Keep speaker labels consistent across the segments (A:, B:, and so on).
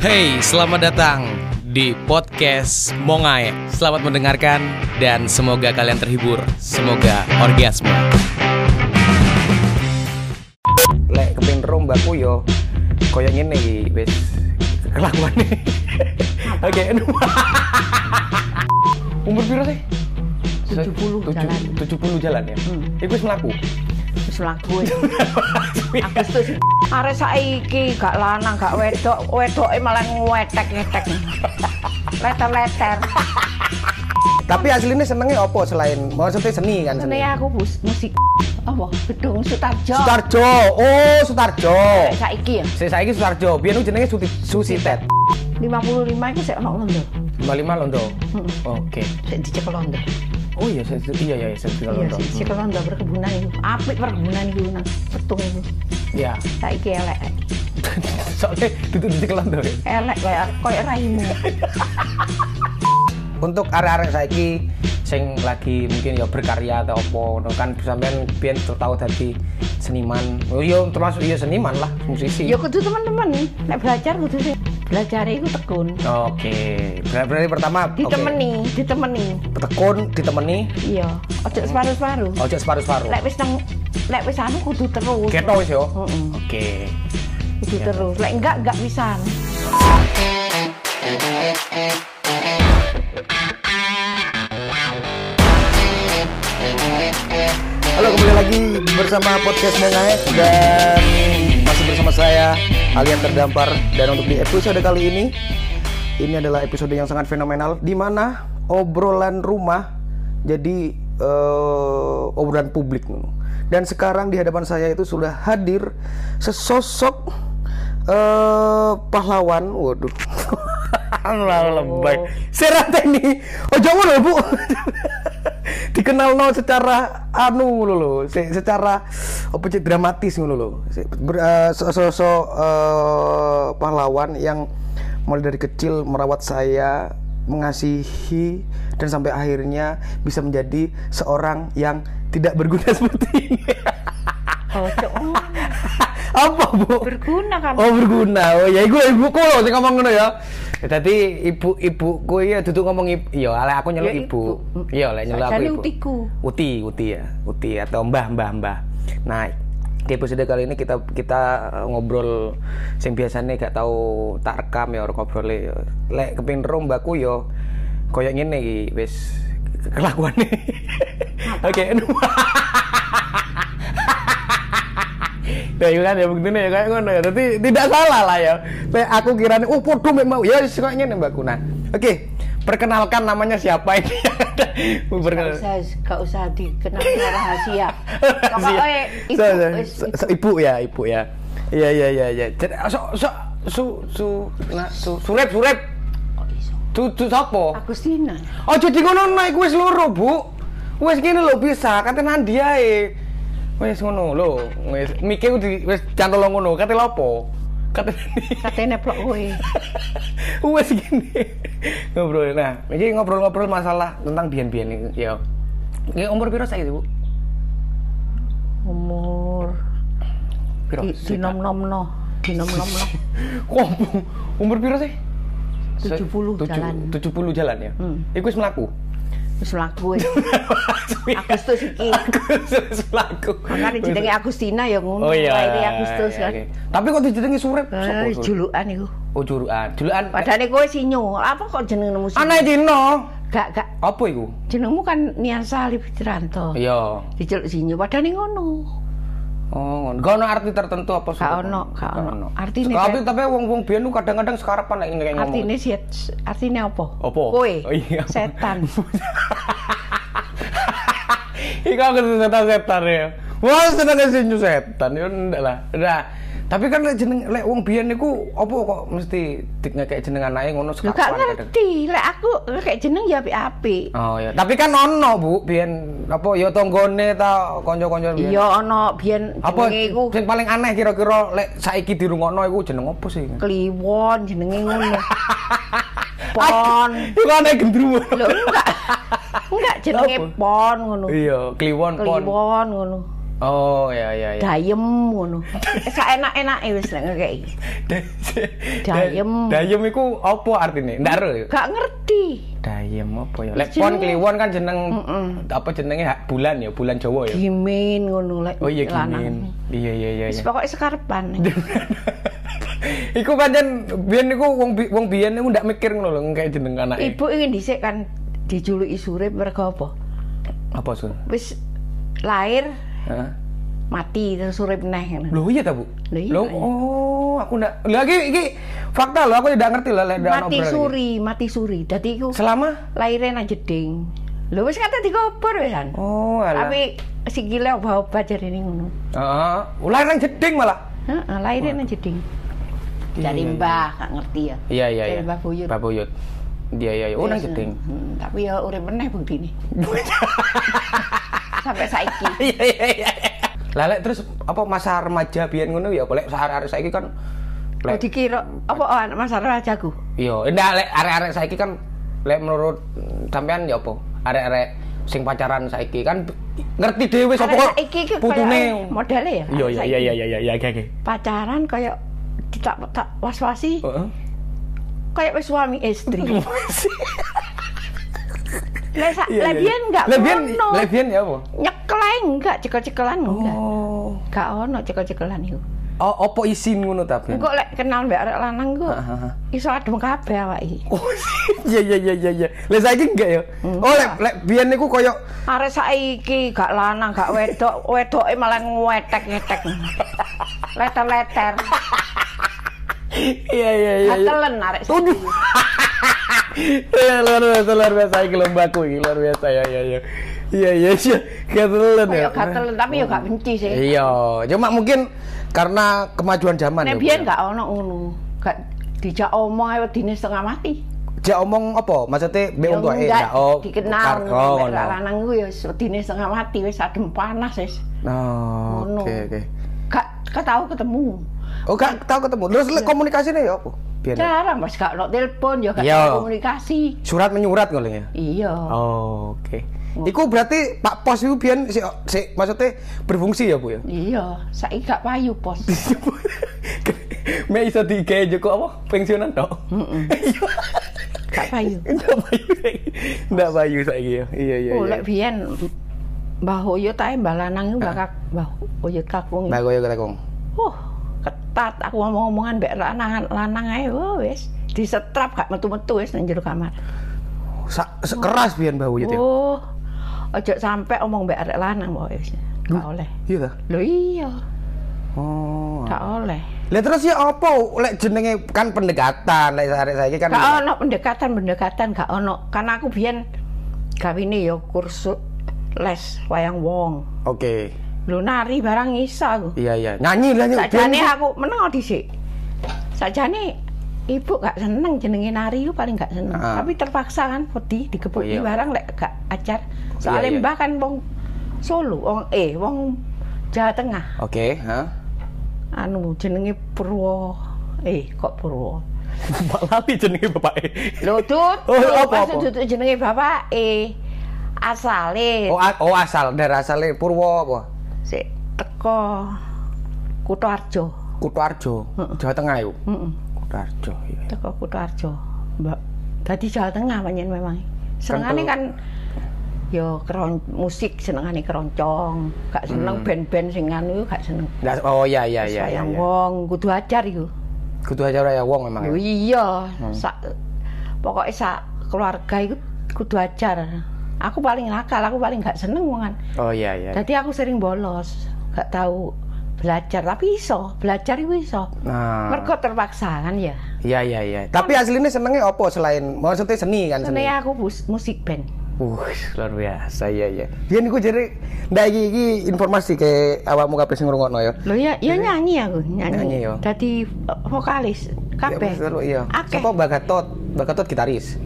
A: Hey, selamat datang di podcast Mongai. Selamat mendengarkan dan semoga kalian terhibur. Semoga orgasme.
B: lek kepin rombaku yo koyo ngene iki wis kelakuane. Oke. aduh. Umur piro sih?
C: 70
B: Tujuh-
C: jalan.
B: 70 jalan ya. Iku wis mlaku.
C: Wis laku. Agustus. Arek saiki gak lanang, gak wedok, wedoke malah ngwetek-ngetek. Leter-leter.
B: Tapi aslinya senengnya opo selain maksudnya seni kan seni.
C: Sene ya aku bus musik. Apa? Gedung Sutarjo.
B: Sutarjo. Oh, Sutarjo.
C: Saiki ya.
B: Saya saiki Sutarjo. Biyen ku jenenge Suti Susitet.
C: 55 iku sik ono londo.
B: 55 Londo. Oke.
C: Sik dicekel londo.
B: Oh iya, saya- iya iya, saya tinggal Londo.
C: Iya, sik dicekel londo perkebunan iku. Apik perkebunan iku nang petung iku.
B: Iya.
C: Saiki elek.
B: Soalnya ditutup Londo ya.
C: Elek kaya koyo raimu.
B: untuk arek-arek saiki sing lagi mungkin ya berkarya atau apa ngono kan sampean biyen tau dadi seniman. Oh iya termasuk iya seniman lah, musisi.
C: Ya kudu teman-teman, nek belajar kudu sih. Belajar iku tekun.
B: Oke. Berarti, berarti pertama oke.
C: Ditemeni, ditemeni.
B: Tekun ditemeni,
C: Iya, ojo separuh-separuh.
B: ojo separu-separu.
C: Lek wis nang lek wis anu kudu terus.
B: Keto wis yo.
C: Heeh,
B: Oke.
C: kudu terus. Lek enggak enggak anu. pisan.
D: Halo kembali lagi bersama podcast Mongae dan masih bersama saya Alian Terdampar dan untuk di episode kali ini ini adalah episode yang sangat fenomenal di mana obrolan rumah jadi eh, obrolan publik dan sekarang di hadapan saya itu sudah hadir sesosok eh, pahlawan waduh
B: Allah lebay.
D: Serateni oh jauh loh bu dikenal no secara anu lo lo se- secara apa sih dramatis ngono lo Se- ber- eh, so- sosok eh, pahlawan yang mulai dari kecil merawat saya mengasihi dan sampai akhirnya bisa menjadi seorang yang tidak berguna seperti ini
C: Ojo
D: apa bu
C: Oh, berguna kan.
D: oh berguna oh
B: iya,
D: ya ibu ibuku loh sing ngomong ngono ya
B: Tadi ibu ibuku ya duduk ngomong ibu, iya lek aku nyeluk
C: Ya,
B: ibu.
C: ibu.
B: Iya lek nyeluk aku
C: Sajane
B: ibu.
C: utiku.
B: Uti, uti ya, uti atau mbah mbah mbah. Nah di episode kali ini kita kita eh, ngobrol sing biasanya gak tahu tak rekam ya ngobrol ya. Lek kepin ro mbakku yo koyo ya, ngene iki wis kelakuane.
C: Nah,
B: Oke. Ya iya kan ya begini ya kayak ngono ya. Tapi tidak salah lah ya. Kayak aku kiranya oh podo mek mau ya wis kok ngene Mbak Kuna. Oke, perkenalkan namanya siapa ini?
C: Gak
B: Perkenalkan.
C: usah, gak usah dikenal secara rahasia. Pokoknya
B: Iya. So, so,
C: itu wis
B: so, so, ibu ya, ibu ya. Iya iya iya iya. Jadi, So so su su nah, su surep surep.
C: kok Oh, iso.
B: Tu tu sapa?
C: Agustina.
B: Ojo di ngono naik wis loro, Bu. Wis ngene lho bisa, kate nandi ae. Wis ngono lho, wis mike ku di wis cantol ngono, kate lopo? Kate nandi.
C: Katene plok kowe.
B: Wes gini ngobrol. Nah, ini ngobrol-ngobrol masalah tentang bian-bian ini. Ya, ini umur piro saya bu?
C: Umur
B: Piro?
C: di- dinom-nomno, dinom-nomno.
B: Kok umur piro sih?
C: 70 jalan. Hmm.
B: 70 jalan ya. Iku wis mlaku.
C: Wis laku. kowe. Agustus iki.
B: Agustus wis mlaku.
C: Makane jenenge Agustina ya ngono.
B: Oh iya.
C: Lahirnya Agustus
B: iya,
C: kan.
B: iya. Tapi kok dijenengi surip?
C: Eh,
B: Sopo, Surip?
C: julukan iku.
B: Oh juruan. Juruan.
C: Padahal kowe sinyo, apa kok jenengmu sinyo?
B: Anak Cina.
C: Gak gak
B: Apa iku?
C: jenengmu kan Niasa Lipiranto.
B: Iya.
C: Diceluk sinyo padahal ning ngono.
B: Oh, ngono. gak ono arti tertentu apa
C: Gak ono, gak ono. Artine
B: tapi
C: kayak-
B: tapi wong-wong biyen ku kadang-kadang sekarapan nek ngene ngomong.
C: Artine set artine apa?
B: Apa?
C: Kowe.
B: Oh, iya.
C: Setan.
B: Iku aku setan-setan ya. Wah, seneng senyum setan ya ndak lah. Nah, tapi kan lek jeneng lek wong biyen niku apa kok mesti dikne kayak jeneng anake ngono
C: Lho gak
B: sekarapan kadang.
C: ngerti. Lek aku kayak jeneng ya apik-apik.
B: Oh iya. Tapi kan ono Bu biyen apa ya tanggane ta kanca-kanca biyen.
C: Iya ono biyen
B: Apa
C: jenenge iku
B: sing paling aneh kira-kira lek saiki dirungokno iku jeneng apa sih?
C: Kliwon jenenge ngono. Pon.
B: Iku aneh gendruwo.
C: Lho enggak. Enggak jenenge
B: Apa?
C: pon ngono.
B: Iya, kliwon pon.
C: Kliwon ngono.
B: Oh ya ya ya.
C: Dayem ngono. Saenak-enake wis nek ngekeki. Dayem.
B: Dayem iku apa artine? Ndak ero. ya?
C: Gak ngerti.
B: Dayem apa ya? Lek pon kliwon kan jeneng apa jenenge ha- bulan ya, bulan Jawa ya.
C: Gimin ngono lek.
B: Oh iya
C: lanang.
B: gini. Iya iya iya
C: Wis
B: iya.
C: pokoke sekarepan.
B: Iku pancen biyen niku wong bi- wong biyen niku ndak mikir ngono lho kayak jeneng e. anake.
C: Ibu ingin dhisik kan dijuluki Surip mergo apa?
B: Apa sun?
C: Wis lahir
B: Heeh.
C: mati terus urip neh ngono.
B: Loh iya ta, Bu?
C: Loh, iya, iya.
B: oh, aku ndak. Lagi iki fakta lho, aku tidak ngerti lah lek ndak ono
C: Mati
B: obrolan iki.
C: suri, mati suri. Dadi iku
B: Selama
C: lahirnya nang jeding. Lho wis kata dikubur wisan.
B: Oh, alah.
C: Tapi sikile obah-obah jarene ngono.
B: Heeh. Ulah nang jeding malah.
C: Heeh, lahirnya nang jeding.
B: Iya,
C: Dari
B: iya, iya.
C: Mbah, gak ngerti ya.
B: Iya iya iya.
C: Dari Mbah Buyut.
B: Mbah Buyut. Iya iya iya. Oh nang jeding.
C: Hmm, tapi ya urip meneh begini. Sampai saiki.
B: Iya iya iya. Lah lek terus apa masa remaja biyen ngono ya apa lek arek-arek saiki kan
C: Oh
B: lek
C: dikira apa oh, anak Mas Ara jago?
B: iya ndak lek arek-arek saiki kan lek menurut sampean ya apa arek-arek sing pacaran saiki kan ngerti dhewe sapa kok
C: Arek saiki iki
B: putune.
C: modele
B: Iya
C: ya. arek
B: iya
C: saiki.
B: iya iya iya iya oke oke.
C: Pacaran kayak tak tak was-wasi
B: Heeh.
C: kayak wis suami istri. Lah sa-
B: Iya,
C: lah
B: iya,
C: biyen
B: iya.
C: enggak
B: Lah biyen-
C: ono.
B: lah biyen ya apa?
C: Nyekleng enggak cekel-cekelan enggak.
B: Oh.
C: Enggak ono cekel-cekelan iku.
B: Oh, apa isin ngono ta ben?
C: Engko lek kenal mbak arek lanang ku
B: ah, ah.
C: iso adem kabeh awake.
B: Oh, iya iya iya iya iya. Lah saiki enggak ya?
C: Hmm.
B: Oh, lek lek biyen niku koyo
C: Arek saiki gak lanang, gak wedok, wedoke malah ngwetek-ngetek. Leter-leter.
B: Iya iya iya. iya.
C: Atelen arek saiki.
B: Iya, luar biasa luar biasa iki lombaku iki luar biasa ya ya ya. Iya iya iya. Gatelan ya.
C: Kayak gak telen tapi yo gak benci sih.
B: Iya, cuma mungkin karena kemajuan zaman ya, Kan
C: Nek
B: Bu,
C: biyen gak ono ngono. Gak dijak omong ae wedine setengah mati.
B: Dia omong apa? Maksudnya be
C: Ya
B: wong tuake
C: enggak,
B: enggak? Oh,
C: dikenal
B: kar- oh,
C: mbak arek
B: ngono.
C: lanang ku yo wedine setengah mati wis adem panas wis.
B: Oh,
C: Ngono.
B: oke oke.
C: Gak gak tau ketemu.
B: Oh, gak tau ketemu. Terus
C: Iya.
B: le- komunikasinya ya apa? Biyen.
C: Jarang mas gak ono telepon yo gak
B: Iya.
C: tau komunikasi.
B: Surat menyurat ngono ya.
C: Iya.
B: Oh, oke. Iku berarti Pak Pos itu biyen si, si- maksudnya berfungsi ya, Bu ya.
C: Iya, saiki gak payu pos.
B: Me iso digawe Joko apa? Pensiunan tok.
C: Gak payu.
B: Ndak bayu saiki. Ndak bayu saiki ya. Iya iya
C: Oh,
B: iya.
C: lek biyen Mbah Hoyot ae Mbah Lanang iku
B: Ah.
C: Mbah Kak Mbah Hoyot kakung.
B: Nah, koyo kata Kong.
C: Uh, ketat aku ngomong-ngomongan mbek lanang lanang ae oh, wis disetrap gak metu-metu wis nang jero kamar.
B: Sa- se- keras biyen bau ya.
C: Oh. Ojo sampe omong mbek arek lanang kok wis. Gak oleh.
B: Iya ta?
C: Lho iya,
B: Oh.
C: gak oleh.
B: Lah terus ya apa lek jenenge kan pendekatan lek arek saiki kan.
C: Gak ono pendekatan-pendekatan gak ono. Karena aku biyen gawine ya kursus les wayang wong.
B: Oke.
C: Lho nari barang iso aku.
B: Iya iya. Nyanyi lah nyanyi.
C: Sajane
B: Biyen-
C: aku meneng dhisik. Sajane ibu gak seneng jenenge nari ku paling gak seneng.
B: Ah.
C: Tapi terpaksa kan wedi
B: Oh, iya.
C: digebuki barang lek gak ajar. Soale
B: iya.
C: mbah kan wong Solo, wong eh wong Jawa Tengah.
B: Oke, ha.
C: Anu jenenge Purwo. Eh kok Purwo?
B: Mbak Lali jenenge bapake.
C: Lho Dut,
B: Oh,
C: lho,
B: apa,
C: pas
B: apa?
C: Dut jenenge bapak eh asale
B: Oh, a- oh asal dari asale Purwo apa?
C: sik teko Kutoarjo.
B: Kutoarjo, Jawa Tengah yuk.
C: Heeh.
B: Kutoarjo, iya.
C: teko Kutoarjo. Mbak, dadi Jawa Tengah panjen memang. Senengane
B: Kental.
C: kan ya keron musik senengane keroncong, gak seneng band-band sing anu gak seneng.
B: Nggak- Oh iya iya iya. iya,
C: Sayang
B: iya.
C: wong kudu ajar iku.
B: Kudu aja ya wong memang.
C: Yo
B: ya?
C: iya, sak pokoke sak keluarga iku kudu ajar. Aku paling nakal, aku paling gak seneng wongan.
B: Oh iya iya.
C: Dadi aku sering bolos, gak tahu belajar tapi iso, belajar iku iso.
B: Nah.
C: Mergo terpaksa kan ya.
B: Iya iya iya. Tapi aslinya senengnya apa selain maksudnya seni kan seni.
C: Sebenarnya aku bus- musik band.
B: Wuh, luar biasa iya iya. Ya niku jere ndak iki iki informasi ke awakmu kabeh sing ngrungokno ya.
C: Loh ya, ya nyanyi aku, nyanyi.
B: Nyanyi ya?
C: Dadi eh, vokalis
B: Ya,
C: kabeh.
B: seru, Iya.
C: Akeh.
B: Sapa Mbak Gatot? Mbak Gatot gitaris.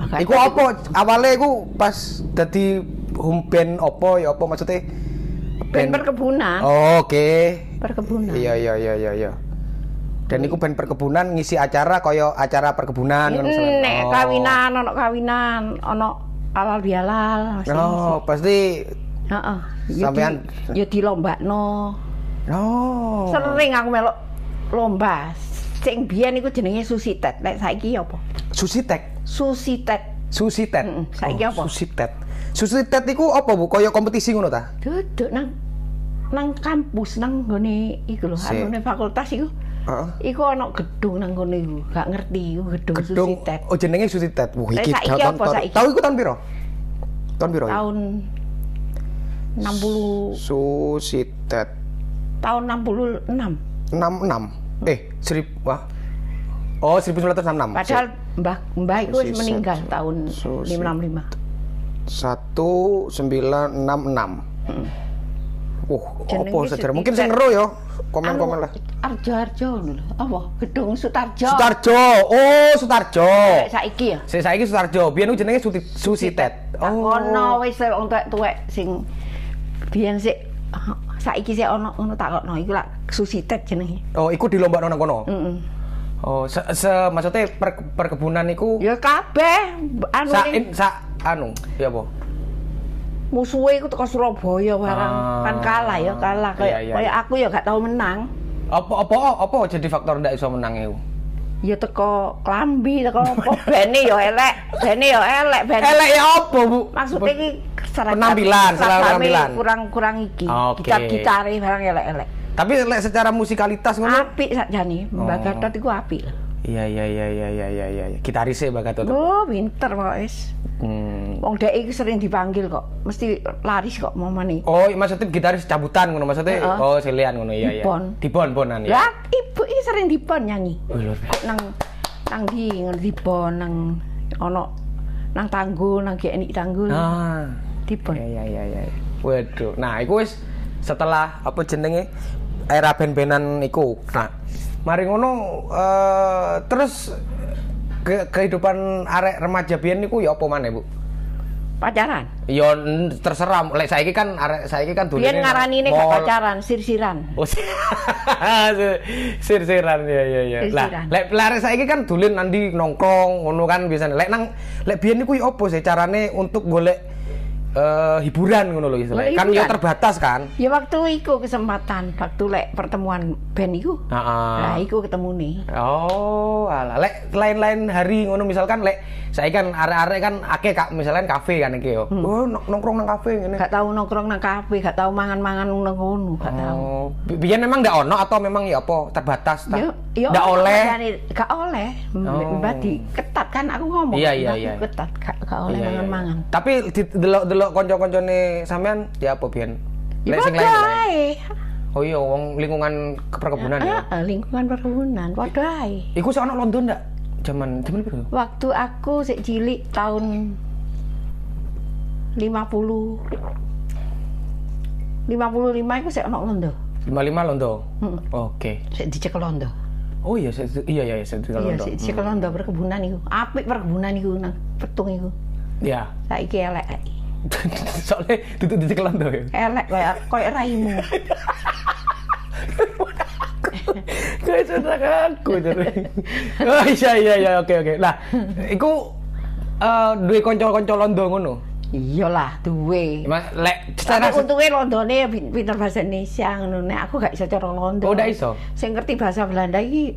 C: Bahkan
B: Iku apa awalnya iku pas dadi home band apa ya apa maksudnya?
C: Band perkebunan,
B: Oh, Oke.
C: perkebunan.
B: Iya iya iya iya iya. Dan iku band perkebunan ngisi acara koyo acara perkebunan kan misalnya.
C: Nek
B: Oh.
C: kawinan, ono kawinan, ono alal bialal. mesti.
B: Oh, pasti
C: Heeh.
B: Sampean-
C: yo dilombakno.
B: Oh.
C: Sering aku melok lomba. Sing biyen iku jenenge susitet. Nek saiki apa?
B: Susitek.
C: Susitet.
B: Susitet.
C: Mm-mm.
B: Oh,
C: Saiki apa?
B: Susitet. Susitet iku apa, Bu? Kaya kompetisi ngono ta?
C: Duduk nang nang kampus nang gone iku lho,
B: Sik.
C: anune fakultas iku.
B: Heeh.
C: Iku ana gedung nang kono iku, gak ngerti iku gedung,
B: Gedung
C: susitet.
B: oh jenenge Susitet. Wah,
C: Lah,
B: iki
C: saiki
B: tahun-
C: apa
B: tahun-
C: saiki?
B: Tahu iku tahun piro? Tahun piro? ya?
C: Tahun 60
B: Susitet
C: tahun 66.
B: 66.
C: Mm.
B: Eh, serib wah. Oh, 1966.
C: Padahal Mbah Mbah iku wis
B: Susitet.
C: meninggal tahun
B: Susitet.
C: 565.
B: 1966. Wah,
C: Mm. Jenenge Anu,
B: apa sejarah? Mungkin
C: Susitet.
B: sing ngero ya. Komen-komen lah.
C: Arjo-arjo ngono lho. Apa? Gedung Sutarjo.
B: Sutarjo. Oh, Sutarjo.
C: Kayak Saiki ya.
B: Saya saiki Sutarjo. Biyen ku jenenge Suti- Susitet.
C: Oh. Ono wis wong tuwek-tuwek sing biyen sik saiki sik ono ngono takokno iku lak susitet jenenge.
B: Oh, iku di lomba nang kono.
C: Heeh.
B: Oh, se, se maksudnya per- perkebunan iku
C: Ya kabeh anu
B: sa,
C: ning-
B: sa anu, ya apa?
C: musuhe iku teko Surabaya barang
B: Ah.
C: kan kalah ya kalah
B: Iya,
C: kayak
B: iya,
C: kayak
B: iya.
C: aku ya gak tau menang.
B: Apa apa apa jadi faktor ndak iso menang iku?
C: Ya teko klambi teko apa bene ya elek, bene ya elek, bene.
B: Elek ya apa, Bu?
C: Maksudnya iki seragam-
B: Penampilan, salah
C: seragamnya
B: penampilan. Ah,
C: kurang-kurang iki.
B: Oke.
C: Gitar-gitare barang elek-elek.
B: Tapi lek secara musikalitas ngono.
C: Apik sakjane, Mbak
B: Oh.
C: Gatot iku apik. lho.
B: Iya, iya, iya, iya, iya, iya, iya. Gitaris e Mbak Gatot.
C: Oh, pinter kok wis.
B: Hmm.
C: Wong dhek iki sering dipanggil kok, mesti laris kok momane.
B: Oh, maksudnya gitaris cabutan ngono maksudnya.
C: Heeh.
B: Oh, silian ngono iya iya.
C: Dibon.
B: Dibon bonan ya.
C: Lah, ibu iki sering dipon nyanyi.
B: Wih, luar biasa.
C: Nang nang di nang dipon nang ono nang tanggul nang GNI tanggul
B: Ah.
C: dipon.
B: Iya, iya, iya, iya. Waduh. Nah, iku wis setelah apa jenenge era ben-benan iku. Nah, mari ngono eh, terus ke- kehidupan arek remaja biyen niku ya apa maneh, Bu?
C: Pacaran.
B: Ya n- terserah. Lek saiki kan arek saiki kan
C: Biyen
B: nang
C: ngaranine gak
B: mall.
C: pacaran, sir-siran.
B: Oh, sir- sir-siran ya ya ya. Lah,
C: Sir-siran.
B: lek lek saiki kan dolen nanti nongkrong ngono kan biasanya. Lek nang lek biyen niku ya opo sih carane untuk golek eh, hiburan ngono lho istilahnya.
C: Golek
B: Kan ya
C: hiburan.
B: terbatas kan.
C: Ya waktu iku kesempatan, waktu lek pertemuan band iku.
B: Heeh.
C: Lah iku ketemu nih.
B: Oh, alah lek lain-lain hari ngono misalkan lek saiki kan arek-arek kan akeh kak misalkan kafe kan iki yo. Oh, nong- nongkrong nang kafe ngene.
C: Gak tau nongkrong nang kafe, gak tau mangan-mangan nang ngono, gak tau.
B: Oh, bi- biyen memang ndak ono atau memang ya apa terbatas ta?
C: Ya, ya
B: Ndak
C: orang
B: oleh.
C: Madani, gak oleh.
B: Oh.
C: Mbak di ketat kan aku ngomong.
B: Iya, iya,
C: Mbak di
B: iya.
C: Ketat gak, gak oleh
B: Iya, iya, iya.
C: mangan-mangan.
B: Tapi di- delok-delok kanca-kancane sampean ya apa biyen?
C: Ya
B: Lek sing
C: padha
B: lain-lain.
C: ae.
B: Oh iya wong lingkungan ke- perkebunan ya.
C: Heeh, lingkungan perkebunan padha ae.
B: Iku sik ono London ndak? Jaman jaman piro?
C: Waktu aku sik cilik tahun 50 55 iku sik ono Londo.
B: 55 London.
C: Heeh.
B: Oke.
C: Sik dicek Londo.
B: Oh iya saya- iya iya iya, saya tinggal
C: Iya,
B: London.
C: sik dicek Londo
B: Hmm.
C: perkebunan iku. Apik perkebunan iku nang petung iku.
B: Ya.
C: Saiki elek. ae.
B: Soalnya duduk di London ya.
C: Elek kaya kaya raimu.
B: Kayak saudara aku jadi. Oh iya iya iya oke oke. Nah, iku eh duwe kanca-kanca London ngono.
C: Iyalah duwe.
B: Mas, Lek secara
C: Tapi untungnya Londone ya, pin- pinter bahasa Indonesia ngono nek aku gak iso cara London.
B: Oh, ndak iso?
C: Sing ngerti bahasa Belanda iki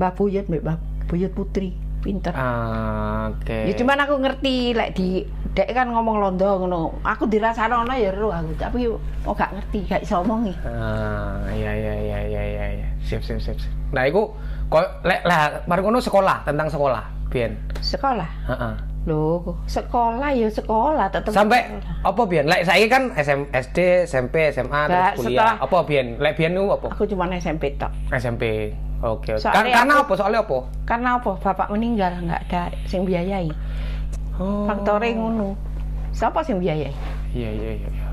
C: Mbah Buyut mbek Mbah Buyut Putri, pinter.
B: Ah, oke.
C: Ya cuman aku ngerti lek di dek kan ngomong Londo ngono. Aku dirasakno ono ya ro aku, tapi oh gak ngerti, gak iso omongi.
B: Ah, iya iya iya iya iya iya. Sip sip sip. sip. Nah, iku kok lek lah mari ngono sekolah, tentang sekolah, Bian.
C: Sekolah.
B: Heeh.
C: Loh, sekolah ya sekolah tetep.
B: Sampai
C: sekolah.
B: apa Bian? Lek saiki kan SM, SD, SMP, SMA
C: Lah,
B: terus kuliah.
C: setelah-
B: Apa Bian? Lek Bian niku apa?
C: aku cuman SMP tok.
B: SMP. Oke. oke.
C: Soalnya
B: Kar- Karena
C: aku-
B: apa? Soalnya apa?
C: Karena apa? Bapak meninggal nggak ada sing biayai.
B: Oh.
C: Faktore ngono. Siapa sing biayai?
B: Iya iya iya. iya.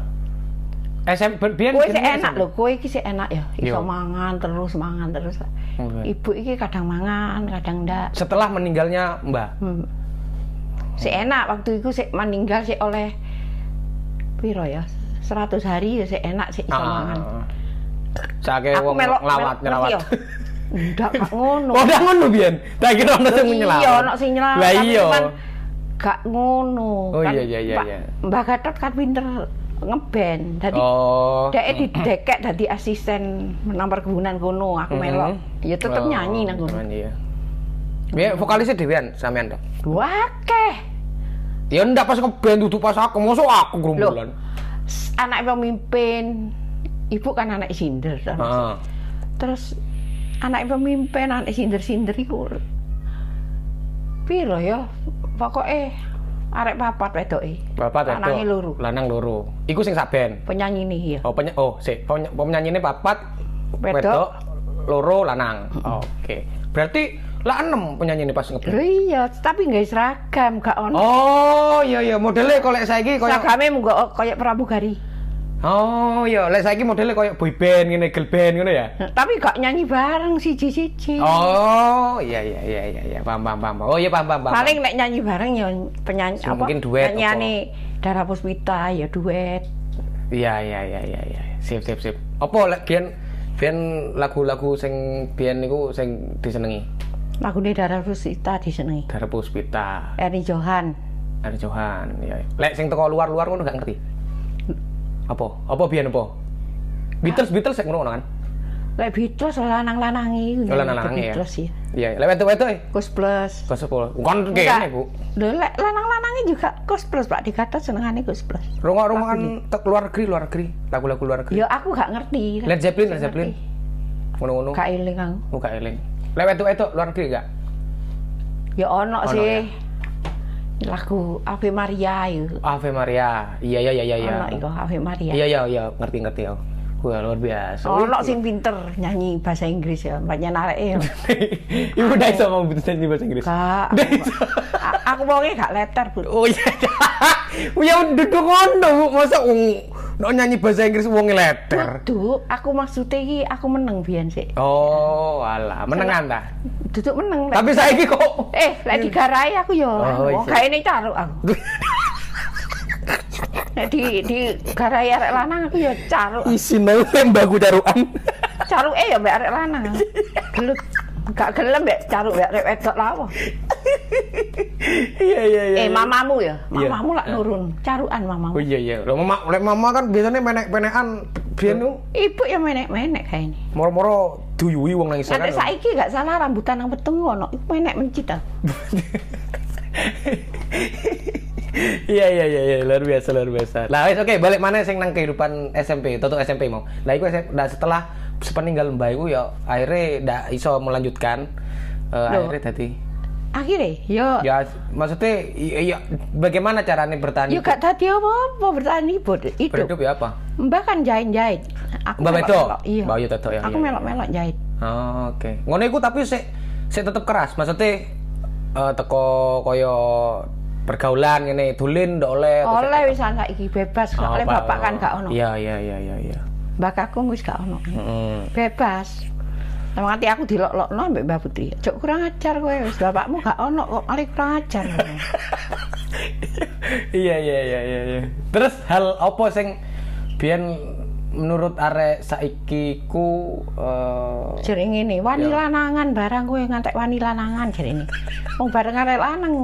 B: SMP Bian
C: Kue sih
B: jenenge
C: enak
B: SMP.
C: loh, kue iki sih enak ya. Iso
B: Kan Iya.
C: mangan terus, mangan terus.
B: Oke.
C: Ibu iki kadang mangan, kadang ndak.
B: Setelah meninggalnya Mbah.
C: Hmm. Si enak waktu itu sih meninggal sih oleh piro ya? 100 hari ya sih enak sih iso mangan.
B: Sake Ah. wong ngelawat, ngelawat.
C: Enggak gak iya. ngono.
B: Oh, udah ngono Bian. Tak kira ono sing nyelawat.
C: Iya, ono sing nyelawat.
B: Lah
C: tapi
B: iya.
C: cuman Gak ngono.
B: Oh,
C: Kan
B: iya, iya, iya,
C: Pak-
B: iya.
C: Mbak Gatot kan pinter ngeband dadi
A: Oh.
C: Dek
B: Hmm.
C: di dekek dadi asisten nomor kebunan
B: Hmm.
C: kono aku melok. Ya
B: Oh,
C: tetep nyanyi nang kono.
B: nyanyi ya. Ya vokalisnya Dewian sampean dong.
C: Wakeh.
B: Ya ndak pas ngeband duduk pas aku mosok aku
C: Loh.
B: gerombolan.
C: s- Anak pemimpin. Ibu kan anak sinder. toh.
B: Heeh.
C: Terus anak pemimpin, anak sinder-sinder iku. Piro ya? Pokoke arek papat wedoke.
B: Bapak tadi.
C: Anake loro.
B: Lanang loro. Iku sing saben.
C: Penyanyi nih ya.
B: Oh, peny oh, sik. Peny penyanyinya papat,
C: Wedok.
B: wedok, loro, lanang. Oke. Berarti lah enam penyanyi ini pas ngeband.
C: Lho iya, tapi nggak seragam, gak ono.
B: Oh, iya iya, modelnya kalau saiki koyo
C: Seragamnya munggo koyo pramugari.
B: Oh, iya, lek saiki modelnya koyo boy band ngene, girl band ngene ya.
C: Tapi gak nyanyi bareng siji-siji.
B: Oh, iya iya iya iya iya, paham paham paham. Oh, iya paham paham paham.
C: paling nek nyanyi bareng ya penyanyi
B: So, mungkin duet
C: nyanyiane Dara Puspita ya duet
B: Iya iya iya iya iya. Sip sip sip. Apa lek biyen biyen lagu-lagu sing biyen niku sing disenengi?
C: lagune Dara Puspita disenengi
B: Darah Puspita,
C: Ernie Johan
B: Ari Johan, ya. Lek sing teko luar-luar ngono gak ngerti. Apa? Apa biyen apa? Beatles Beatles sing ngono kan?
C: lek Beatles lanang-lanangi iku
B: Oh,
C: nyanyi
B: lanang-lanange ya.
C: Iya, The Beatles ya
B: Iya, lek wetu-wetu e.
C: Kus Plus
B: Pas apa? Kon
C: Enggak.
B: kene, Bu.
C: Lho, lek lanang-lanangi juga Kus Plus Pak dikata senengane Kus Plus
B: Rungok-rungokan kan tek luar negeri, luar negeri, lagu-lagu luar negeri.
C: ya aku gak ngerti
B: Led Zeppelin, Led Zeppelin. Ngono-ngono.
C: gak eling aku
B: Oh, gak eling. Lek wetu-wetu luar negeri gak?
C: ya ono
B: ya.
C: sih lagu Ave Maria itu
B: Ave Maria. Iya iya iya iya. iya.
C: ono iku Ave Maria
B: Iya iya iya, ngerti ngerti ya. Wah, luar biasa.
C: ono sing pinter nyanyi bahasa Inggris ya banyak narek ya
B: Ibu udah bisa ngomong betul di bahasa Inggris.
C: Gak,
B: Nah,
C: aku, a- aku wonge gak letter, Bu.
B: Oh iya. Ya duduk ngono, Bu. Masa wong nak nyanyi bahasa Inggris wong letter.
C: Duduk, aku maksudnya iki aku meneng biyen sik.
B: Oh, alah, menengan ta.
C: Duduk meneng. lek-
B: Tapi saiki kok
C: eh, lek digarai aku ya.
B: Oh,
C: Oh,
B: iya.
C: gak ini caruk aku. Lek di di garai arek lanang aku ya caruk.
B: isin nang tembak daruan.
C: Caruke ya mbek arek lanang. Gelut. Gak gelem mbek caruk mbek arek wedok lawo.
B: Iya iya iya.
C: Eh, mamamu ya.
B: Iya.
C: Mamamu lak nurun. Carukan
B: Oh
C: mamamu.
B: iya iya. Lah mama, lek mama kan biasanya menek-menekan biyen ku
C: Ibu ya menek-menek kayak ini.
B: moro-moro duyui wong nang isor kan.
C: Nanti saiki gak salah rambutan nang peteng ono. Iku menek mencit aku.
B: Iya iya iya iya luar biasa luar biasa. Lah wis oke balik mana sing nang kehidupan SMP, tutup SMP mau. Lah iku SMP, nah, setelah sepeninggal mbah iku ya akhirnya ndak iso melanjutkan Eh,
C: Loh.
B: akhirnya tadi
C: akhirnya yo
B: ya maksudnya i- iya bagaimana caranya bertahan
C: yo
B: hidup,
C: gak tadi apa apa bertahan hidup hidup
B: berhidup ya apa?
C: mbak kan jahit jahit aku
B: Mbak Beto?
C: melok-melok, iya
B: Mbak Ayu Toto, ya,
C: aku
B: iya,
C: melok melok jahit
B: Oh, oke. Ngono iku tapi sik sik tetep keras. Maksudnya eh, teko koyo pergaulan ngene dolen ndak oleh. terus-
C: oleh wis anak iki bebas
B: Oh,
C: gak oleh
B: Pak.
C: bapak kan gak ono
B: Iya iya iya iya iya.
C: mbak aku wis gak ono
B: Mm.
C: bebas Sama nanti aku dilok-lokno mbak Mbak Putri Cok kurang ajar kowe wis bapakmu gak ono kok malah kurang ajar
B: iya iya iya iya iya. Terus hal apa sing biyen menurut arek saiki ku eh,
C: Jadi ngene, wani
B: Ya.
C: lanangan barang kowe ngantek wani lanangan jadi ini Wong bareng arek lanang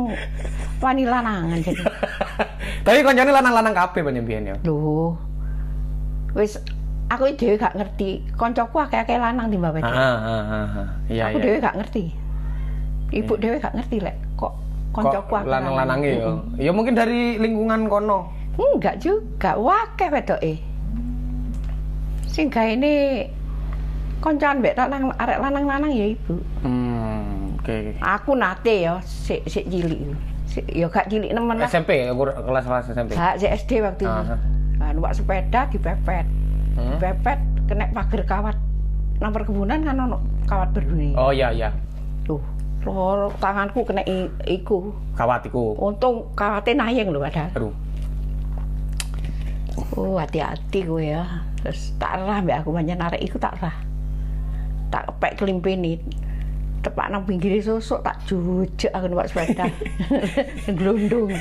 C: wani lanangan jadi
B: Tapi koncone lanang-lanang kabeh pancen biyen ya.
C: Loh. Wis aku dhewe gak ngerti. Koncoku akeh-akeh lanang di Mbak Wedok.
B: Heeh heeh heeh. Iya
C: Aku
B: Ah, iya.
C: dhewe gak ngerti. Ibu dhewe gak ngerti lek kok
B: Kok
C: koncoku akeh
B: lanang-lanange ya. Ya mungkin dari lingkungan kono.
C: Enggak juga, wakeh wedoke. Sing gaene koncoan mbek lanang arek lanang-lanang ya ibu.
B: Hmm, oke. oke.
C: Aku nate ya sik sik cilik. Sik ya gak cilik nemen lah.
B: SMP ya, kur- kelas-kelas SMP.
C: Gak sik SD waktu itu.
B: Aha.
C: Nah, numpak sepeda dipepet.
B: Ah, Hmm.
C: Dipepet kena pagar kawat. Nang perkebunan kan ono kawat berduri.
B: Oh iya iya.
C: Tuh, loro tanganku kena i- iku.
B: Kawatiku.
C: Untung kawatnya nayeng lho padahal.
B: Aduh.
C: Oh, hati-hati gue ya. Terus tak rah mbak aku banyak narik iku tak rah. Tak kepek kelimpinit. Tepak nang pinggir sosok tak jujuk aku numpak sepeda. Glundung.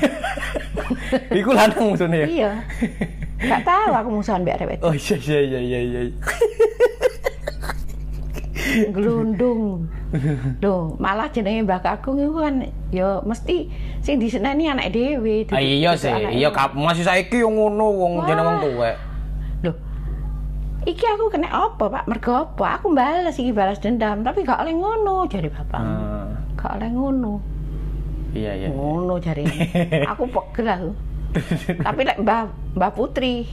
B: Iku lanang musuhnya ya.
C: iya. Gak tahu aku musuhan mbak Rewet.
B: Oh iya iya iya iya iya.
C: Glundung. Loh, malah jenenge Mbah Kakung itu kan ya mesti sing diseneni anak dhewe.
B: Ah,
C: duduk-
B: iya
C: duduk
B: sih,
C: anak
B: iya
C: dhewe.
B: kap masih saiki yo ngono wong
C: Wah.
B: jeneng wong tuwek.
C: Loh. Iki aku kena apa, Pak? Mergo apa? Aku balas iki balas dendam, tapi gak oleh ngono jare bapak.
B: Ah,
C: Gak oleh ngono.
B: iya iya.
C: Ngono jare. aku pegel aku. tapi lek Mbah Mbah Putri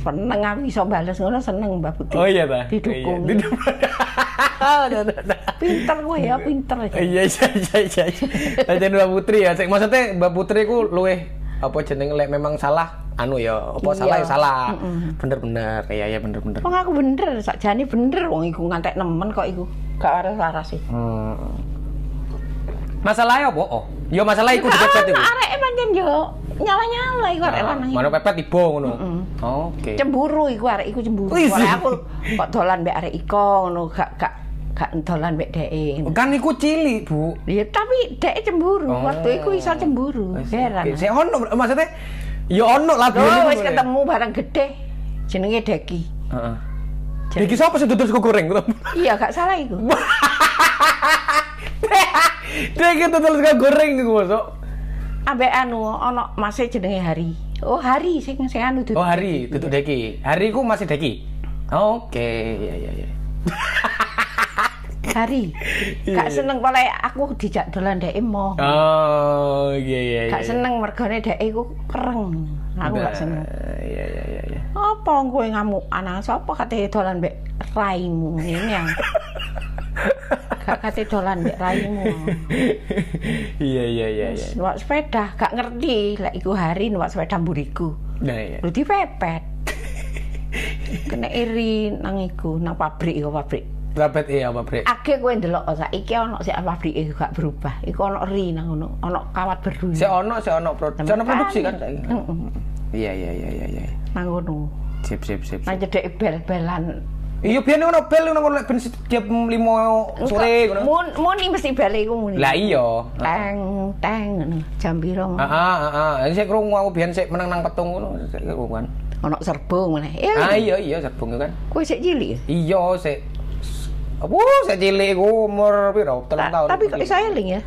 C: seneng aku iso balas ngono seneng Mbah Putri.
B: Oh iya ta. Iya,
C: Didukung.
B: didukung. Oh,
C: Pinter kowe ya, pinter.
B: Iya iya iya iya. Lajen Mbak Putri ya. Sek, Maksudnya Mbak Putri ku luweh apa jeneng lek memang salah anu ya apa salah ya
C: Iya.
B: salah. Bener-bener. Iya iya bener-bener.
C: Wong aku bener, sakjane bener wong iku ngantek nemen kok iku. Gak arep laras sih.
B: Hmm. Masalahnya apa? Oh, yo masalah iku dipepet iku.
C: Areke pancen yo nyala-nyala iku arek
B: Ah,
C: lanang. iku.
B: Mana pepet tiba ngono. Oke.
C: Cemburu iku arek iku cemburu.
B: Wih, iya.
C: Arek
B: sih.
C: aku kok dolan mbek arek iko ngono gak gak gak dolan mbek dheke.
B: Kan iku cilik, Bu.
C: Ya tapi dheke cemburu,
B: Oh. iya.
C: waktu iku iso cemburu. Heran.
B: Oke, Sik ono maksudnya ya ono lah
C: Loh,
B: biyen
C: wis
B: iku.
C: ketemu barang gede jenenge Deki.
B: Heeh.
C: Jadi-
B: Iki sapa sih tutur sego goreng?
C: Iya, gak salah iku.
B: Dia gitu tutur sego goreng iku, Masuk.
C: Ambek anu ono masih jenenge Hari. Oh, Hari sing sing anu duduk.
B: Oh, hari tutup deki. Hari ku masih deki. Oke, iya iya iya.
C: Hari.
B: iya.
C: Gak seneng oleh aku dijak dolan dheke mau.
B: Oh, iya iya iya.
C: Gak seneng mergane dheke iku kereng. Nah, Aku gak seneng.
B: Iya iya iya iya.
C: Apa kowe ngamuk anak sapa kate dolan mbek raimu ngene yang. Gak kate dolan mbek raimu.
B: Iya iya iya iya.
C: Numpak sepeda, gak ngerti lek iku hari numpak sepeda mburiku.
B: Nah, iya.
C: Lu dipepet. Kena iri nang iku nang pabrik iku pabrik.
B: Rapet iya Pak Bre.
C: Ake kowe ndelok kok saiki ono sik pabrik iku gak berubah. Iku ono ri nang ngono, ono kawat berdunia.
B: Si ono si ono produksi, si ono produksi kan saiki.
C: Heeh.
B: Iya iya iya iya iya.
C: Nang ngono.
B: Sip sip sip.
C: Nang
B: sip.
C: cedek bel-belan.
B: Iya biyen ngono bel ngono lek ben tiap 5 sore
C: Engko,
B: ngono.
C: Mun muni mesti balik iku muni.
B: Lah iya. Ah,
C: Teng teng ngono, jam piro ngono.
B: Heeh heeh. Ini saya krungu aku biyen sik menang nang petung ngono. Sik krungu kan.
C: Ono serbu meneh. Eh,
B: Ah iya iya serbung kan.
C: kowe sik cilik. ya?
B: Iya sik Apa sik cilik iku umur piro? 3
C: Ta-
B: tahun.
C: Tapi kok iso eling ya?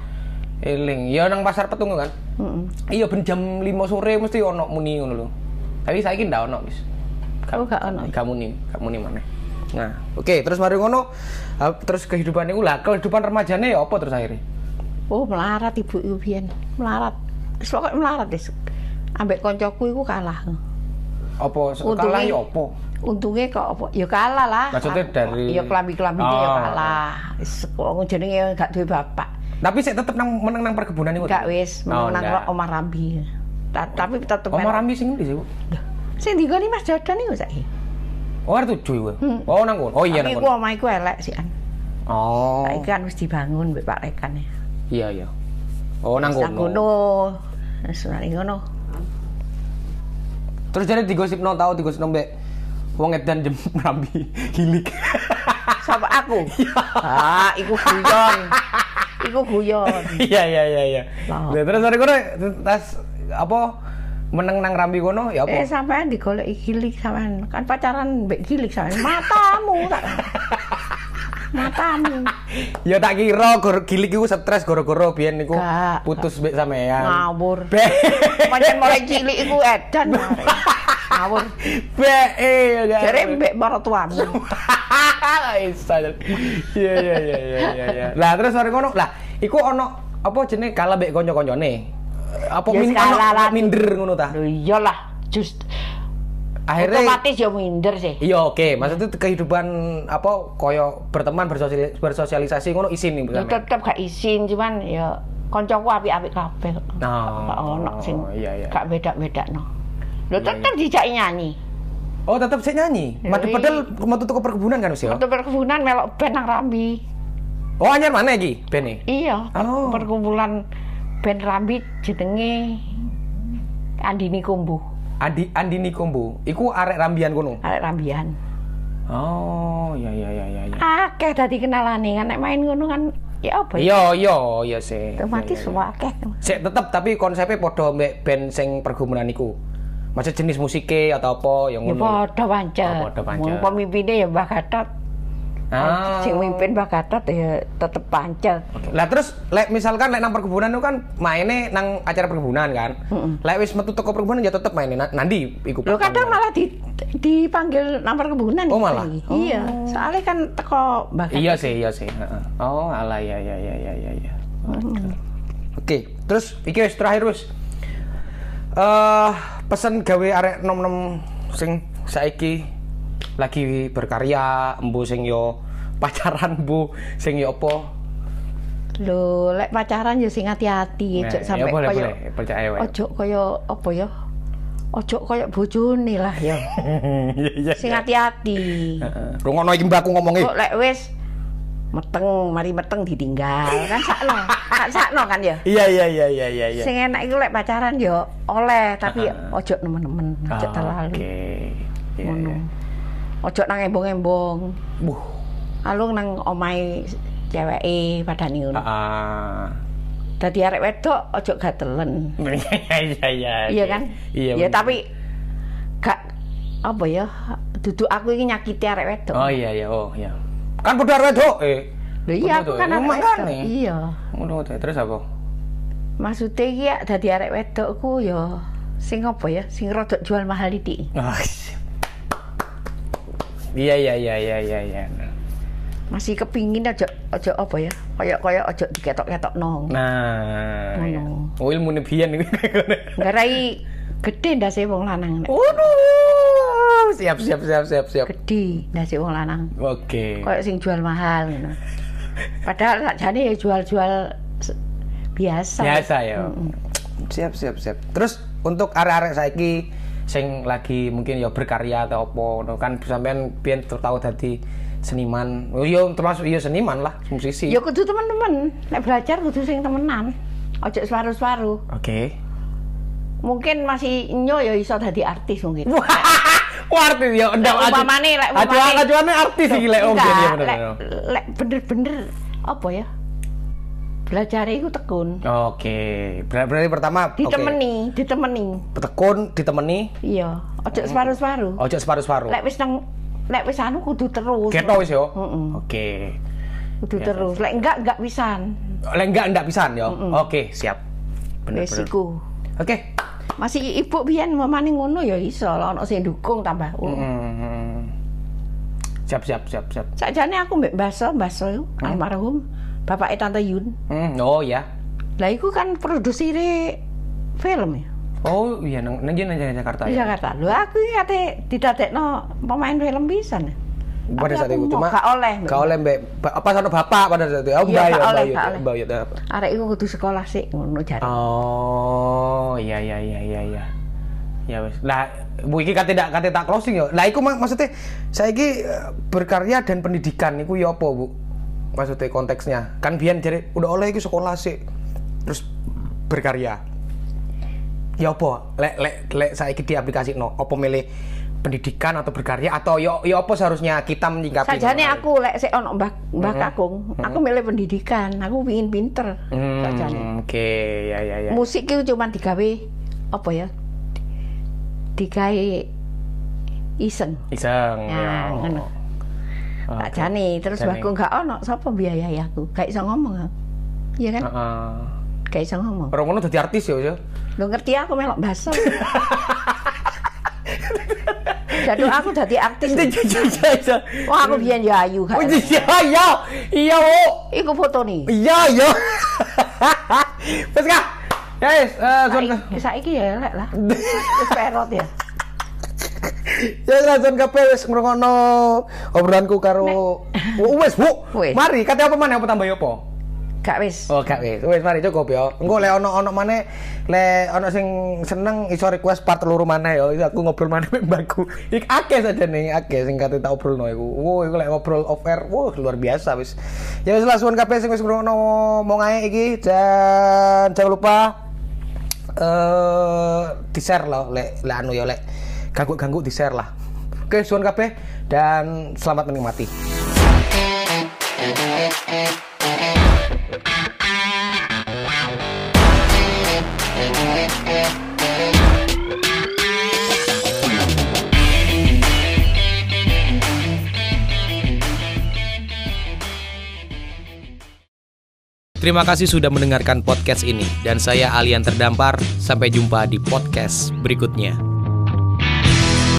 B: eling. Ya nang pasar petung kan.
C: Heeh.
B: Iya ben jam 5 sore mesti ono muni ngono lho. Tapi saiki ndak ono wis.
C: Kau Oh, gak ono. iya.
B: Gak muni, gak muni maneh. Nah, oke, terus mari ngono. Ah, Terus kehidupan iku lah, kehidupan remajane ya apa terus akhirnya?
C: Oh melarat ibu ibu biyen melarat. Wis pokoke melarat wis. Ambek koncoku iku kalah.
B: Apa se-
C: Untungnya-
B: kalah ya apa?
C: Untungnya kok apa? Ya kalah lah.
B: Maksudnya
C: Aku-
B: dari-
C: ya kelambi-kelambi ya
B: Ah.
C: kalah. Wis kok jenenge gak duwe bapak.
B: Tapi saya tetep nang menang nang perkebunan iku.
C: Gak wis
B: Oh,
C: menang
B: ndak.
C: nang Omar Rambi. Ta- tapi tetep
B: Omar Rambi sing ndi sih, Bu?
C: Sing digoni Mas Jodan iku saiki.
B: Oh, ada tujuh iku.
C: Hmm.
B: Oh, nang kono. Oh iya nang
C: Tapi iku
B: kono.
C: omah iku elek sih an.
B: Oh.
C: Saiki kan wis dibangun mbek Pak Rekan ya.
B: Iya, iya. Oh, nang
C: Wis Nang
B: kono.
C: kono. Wis nang ngono.
B: Terus jadi digosipno tau digosipno mbek wong edan jem Rambi gilik.
C: Sapa aku?
B: Iya.
C: ah, iku guyon. iku guyon.
B: Iya, iya, iya, iya.
C: Lah.
B: Nah, Terus mari kono tas apa menang nang Rambi kono ya
C: Eh
B: apa?
C: sampean digolek gilik sampean kan pacaran mbek gilik sampean matamu tak. matamu
B: Ya tak kira gor gilik iku stres gara-gara biyen niku
C: Gak.
B: putus mbek sampean.
C: ngawur.
B: Be.
C: Pancen mulai cilik iku edan arek. ngawur.
B: Be. eh, ya,
C: Jare
B: ya.
C: mbek maratuamu.
B: Isa. Iya iya iya iya iya. iya. Lah terus mari ngono. Lah iku ono apa jenenge kalah mbek kanca-kancane. Apa
C: Ya,
B: min ono
C: skalaran.
B: minder ngono ta?
C: Lho iyalah, just
B: Akhirnya
C: otomatis ya minder sih.
B: Iya oke, maksudnya kehidupan apa koyo berteman bersosialisasi, bersosialisasi ngono isin nih
C: Yo tetep gak isin cuman ya kancaku apik-apik kabeh.
B: Oh.
C: Gak ono sing
B: Iya, iya.
C: gak beda-bedakno. Lho tetep dijak nyanyi.
B: Oh, tetap saya nyanyi.
C: Iya,
B: Madu
C: iya.
B: pedal mau tutup ke perkebunan kan Mas ya?
C: Waktu perkebunan melok band nang Rambi.
B: Oh, anyar mana iki? Ben iki?
C: Iya, per-
B: Oh.
C: perkumpulan band Rambi jenenge Andini Kumbu,
B: Andi Andini Kombo. Iku arek rambian kono.
C: arek Rambian.
B: Oh, iya iya iya iya. iya.
C: Akeh dadi kenalane kan nek main ngono kan ya apa ya?
B: Iya iya iya sih.
C: Otomatis semua akeh.
B: Sik tetep tapi konsepnya podo mbek band sing perkebunan iku. Maksud jenis musiknya atau apa yang
C: Ya
B: ngono.
C: padha pancet.
B: Oh, Ah, padha pancet.
C: Wong Pemimpinnya ya Mbah Gatot.
A: Ah.
C: Sing mimpin Mbah Gatot ya tetep pancet.
B: Lah terus lek misalkan lek nang perkebunan itu kan mainnya nang acara perkebunan kan. Lek wis metu toko perkebunan ya tetep mainnya na- nanti iku.
C: Loh
B: perkebunan.
C: kadang malah di, dipanggil nang perkebunan.
B: Oh,
C: gitu
B: malah? Oh.
C: lagi. Iya, soalnya kan teko Mbah Gatot.
B: Iya sih, iya sih. Heeh. Oh, ala ya ya ya ya ya ya. Oke, terus iki wis terakhir wis. Eh, pesan gawe arek nom-nom sing saiki lagi berkarya, embu sing yo pacaran bu sing yo apa
C: Lho, lek pacaran ya sing hati-hati,
B: Nah,
C: ojo
B: ya
C: sampe
B: boleh,
C: koyo
B: boleh. Percaya wae.
C: Ojo koyo apa ya? Ojo koyo bojone lah ya.
B: Iya,
C: Sing hati-hati.
B: Rungono iki mbakku ngomongi.
C: Kok lek wis meteng, mari meteng ditinggal kan sakno. Kan sakno kan ya.
B: Iya iya iya iya iya iya.
C: Sing enak iku lek pacaran ya oleh, tapi ya ojo nemen-nemen, ojo
B: Ah,
C: terlalu.
B: Oke. Iya,
C: Ngono.
B: iya.
C: Ojo nang embong-embong.
B: Wuh.
C: Alung nang omahe ceweke padane ngono.
B: Ah.
C: Dadi arek wedok ojo gatelen.
B: Iya iya iya.
C: Iya kan?
B: Iya.
C: Ya
B: bener.
C: tapi gak apa ya? Duduk aku ini nyakiti arek wedok.
B: Oh iya iya oh iya. Kan padha arek wedok. Eh.
C: Lho iya
B: Betul,
C: aku
B: betul.
C: kan arek
B: Emang
C: wedok.
B: kan, nih?
C: Iya.
B: Ngono ta terus apa?
C: Maksudnya iki ya dadi arek wedokku ya sing apa ya? Sing rodok jual mahal iki.
B: Ah, sip. Iya iya iya iya iya iya.
C: Masih kepingin aja aja apa ya? Kayak kayak aja diketok-ketok nong.
B: Nah. iya.
C: Ngono.
B: Oh ilmu nebian iki.
C: Garai gede ndase wong lanang. nek.
B: Waduh. Siap siap siap siap siap.
C: Gede ndase wong lanang.
B: Oke.
C: Kayak sing jual mahal ngono. Padahal sakjane ya jual-jual se- biasa.
B: Biasa ya.
D: Siap, siap, siap.
B: Terus untuk arek-arek saiki sing lagi mungkin ya berkarya atau apa no, kan sampean pian tau dadi seniman. Oh, Yo termasuk yo seniman lah, musisi.
C: Ya kudu teman-teman, nek belajar kudu sing temenan. Ojo separuh-separuh.
B: Oke.
C: Mungkin masih nyo ya iso dadi artis mungkin.
B: Wah, Wah, artis ya, yo ndang
C: Lek umpamane, lek umpamane-
B: acuane artis iki lek om
C: Enggak,
B: Bian, ya
C: lek,
B: bener.
C: lek bener-bener apa ya? Belajar iku tekun.
B: Oke, berarti, berarti pertama oke.
C: Ditemeni, ditemeni.
B: Tekun ditemeni,
C: Iya, ojo
B: Oh.
C: separuh-separuh.
B: ojo separu-separu.
C: Lek wis nang lek wis anu kudu terus.
B: Ketok wis yo.
C: Mm-mm.
B: Oke.
C: Kudu terus. Lek enggak enggak pisan.
B: Lek enggak enggak pisan yo. Oke, siap. Bener
C: Wis
B: bener.
C: iku.
B: Oke.
C: Masih ibu biyen mamane ngono ya iso, lah ono sing dukung tambah.
B: Hmm. Siap siap siap siap.
C: Sakjane aku mbek Baso, Baso iku almarhum bapaknya Tante Yun.
B: Hmm, oh ya.
C: Lah iku kan produsire film ya.
B: Oh iya nang nang nang nang Jakarta
C: Di
B: ya.
C: Jakarta. Lho aku iki ate didadekno pemain film pisan. ya.
B: Pada
C: Tapi
B: saat itu
C: aku mau,
B: cuma
C: gak oleh.
B: Gak oleh Mbak. Ba- Apa sono bapak pada saat itu. Oh,
C: Iya,
B: Mbak ya,
C: gak
B: Mbak
C: oleh,
B: ya,
C: gak
B: Mbak ya.
C: Arek iku kudu sekolah sik ngono jare.
B: Oh, iya iya iya iya iya. Ya wes. Lah, Bu iki kate tak kate tak closing yo. Lah iku mak- maksudnya saya iki eh, berkarya dan pendidikan iku ya apa, Bu? Maksudnya konteksnya. Kan biyen jare udah oleh iku sekolah sih. Terus berkarya. Ya apa? Lek lek lek saiki diaplikasino apa milih pendidikan atau berkarya atau yo yo apa seharusnya kita menyikapi?
C: Sajane aku lek sik ono Mbah Mbah Kakung, aku milih pendidikan, aku pengin pinter.
B: Hmm,
C: Sajane.
B: Oke, ya ya ya.
C: Musik itu cuma digawe apa ya? Digawe iseng.
B: Iseng.
C: Ya, ngono. Tak
B: Oke.
C: jani, terus
B: Jani.
C: bahku gak ono sapa biayai aku. Gak iso ngomong aku. Iya kan?
B: Heeh.
C: Gak iso ngomong.
B: Orang ngono dadi artis ya, ya.
C: Lo ngerti aku melok baso. Jadi aku dadi artis. Wah, aku biyen ya ayu gak.
B: Iya, iya, iya, wo.
C: Iku foto nih.
B: iya, iya. Wes kah? Ya, wes, eh, son ka-
C: Saiki ya elek lah. Wis perot ya.
B: ya, wes, son kabeh wes ngrungokno obrolanku karo Wo, wes, Bu.
C: Wes.
B: Mari, kate apa maneh apa tambah yo apa?
C: Gak wis.
B: Oh, gak wis. Wes mari cukup ya. Engko lek ono-ono maneh lek ono sing seneng iso request part loro maneh ya. Iso Aku ngobrol maneh mek mbakku. Ik akeh saja nih, akeh sing kate tak obrolno iku. Wo, iku lek ngobrol off air, wo luar biasa wis. Ya wis lah suwun kabeh sing wis ngrungokno omong ae iki dan jangan lupa eh di-share lah lek lek anu ya lek ganggu-ganggu di-share lah. Oke, suwun kabeh dan selamat menikmati.
D: Terima kasih sudah mendengarkan podcast ini dan saya Alian Terdampar. Sampai jumpa di podcast berikutnya.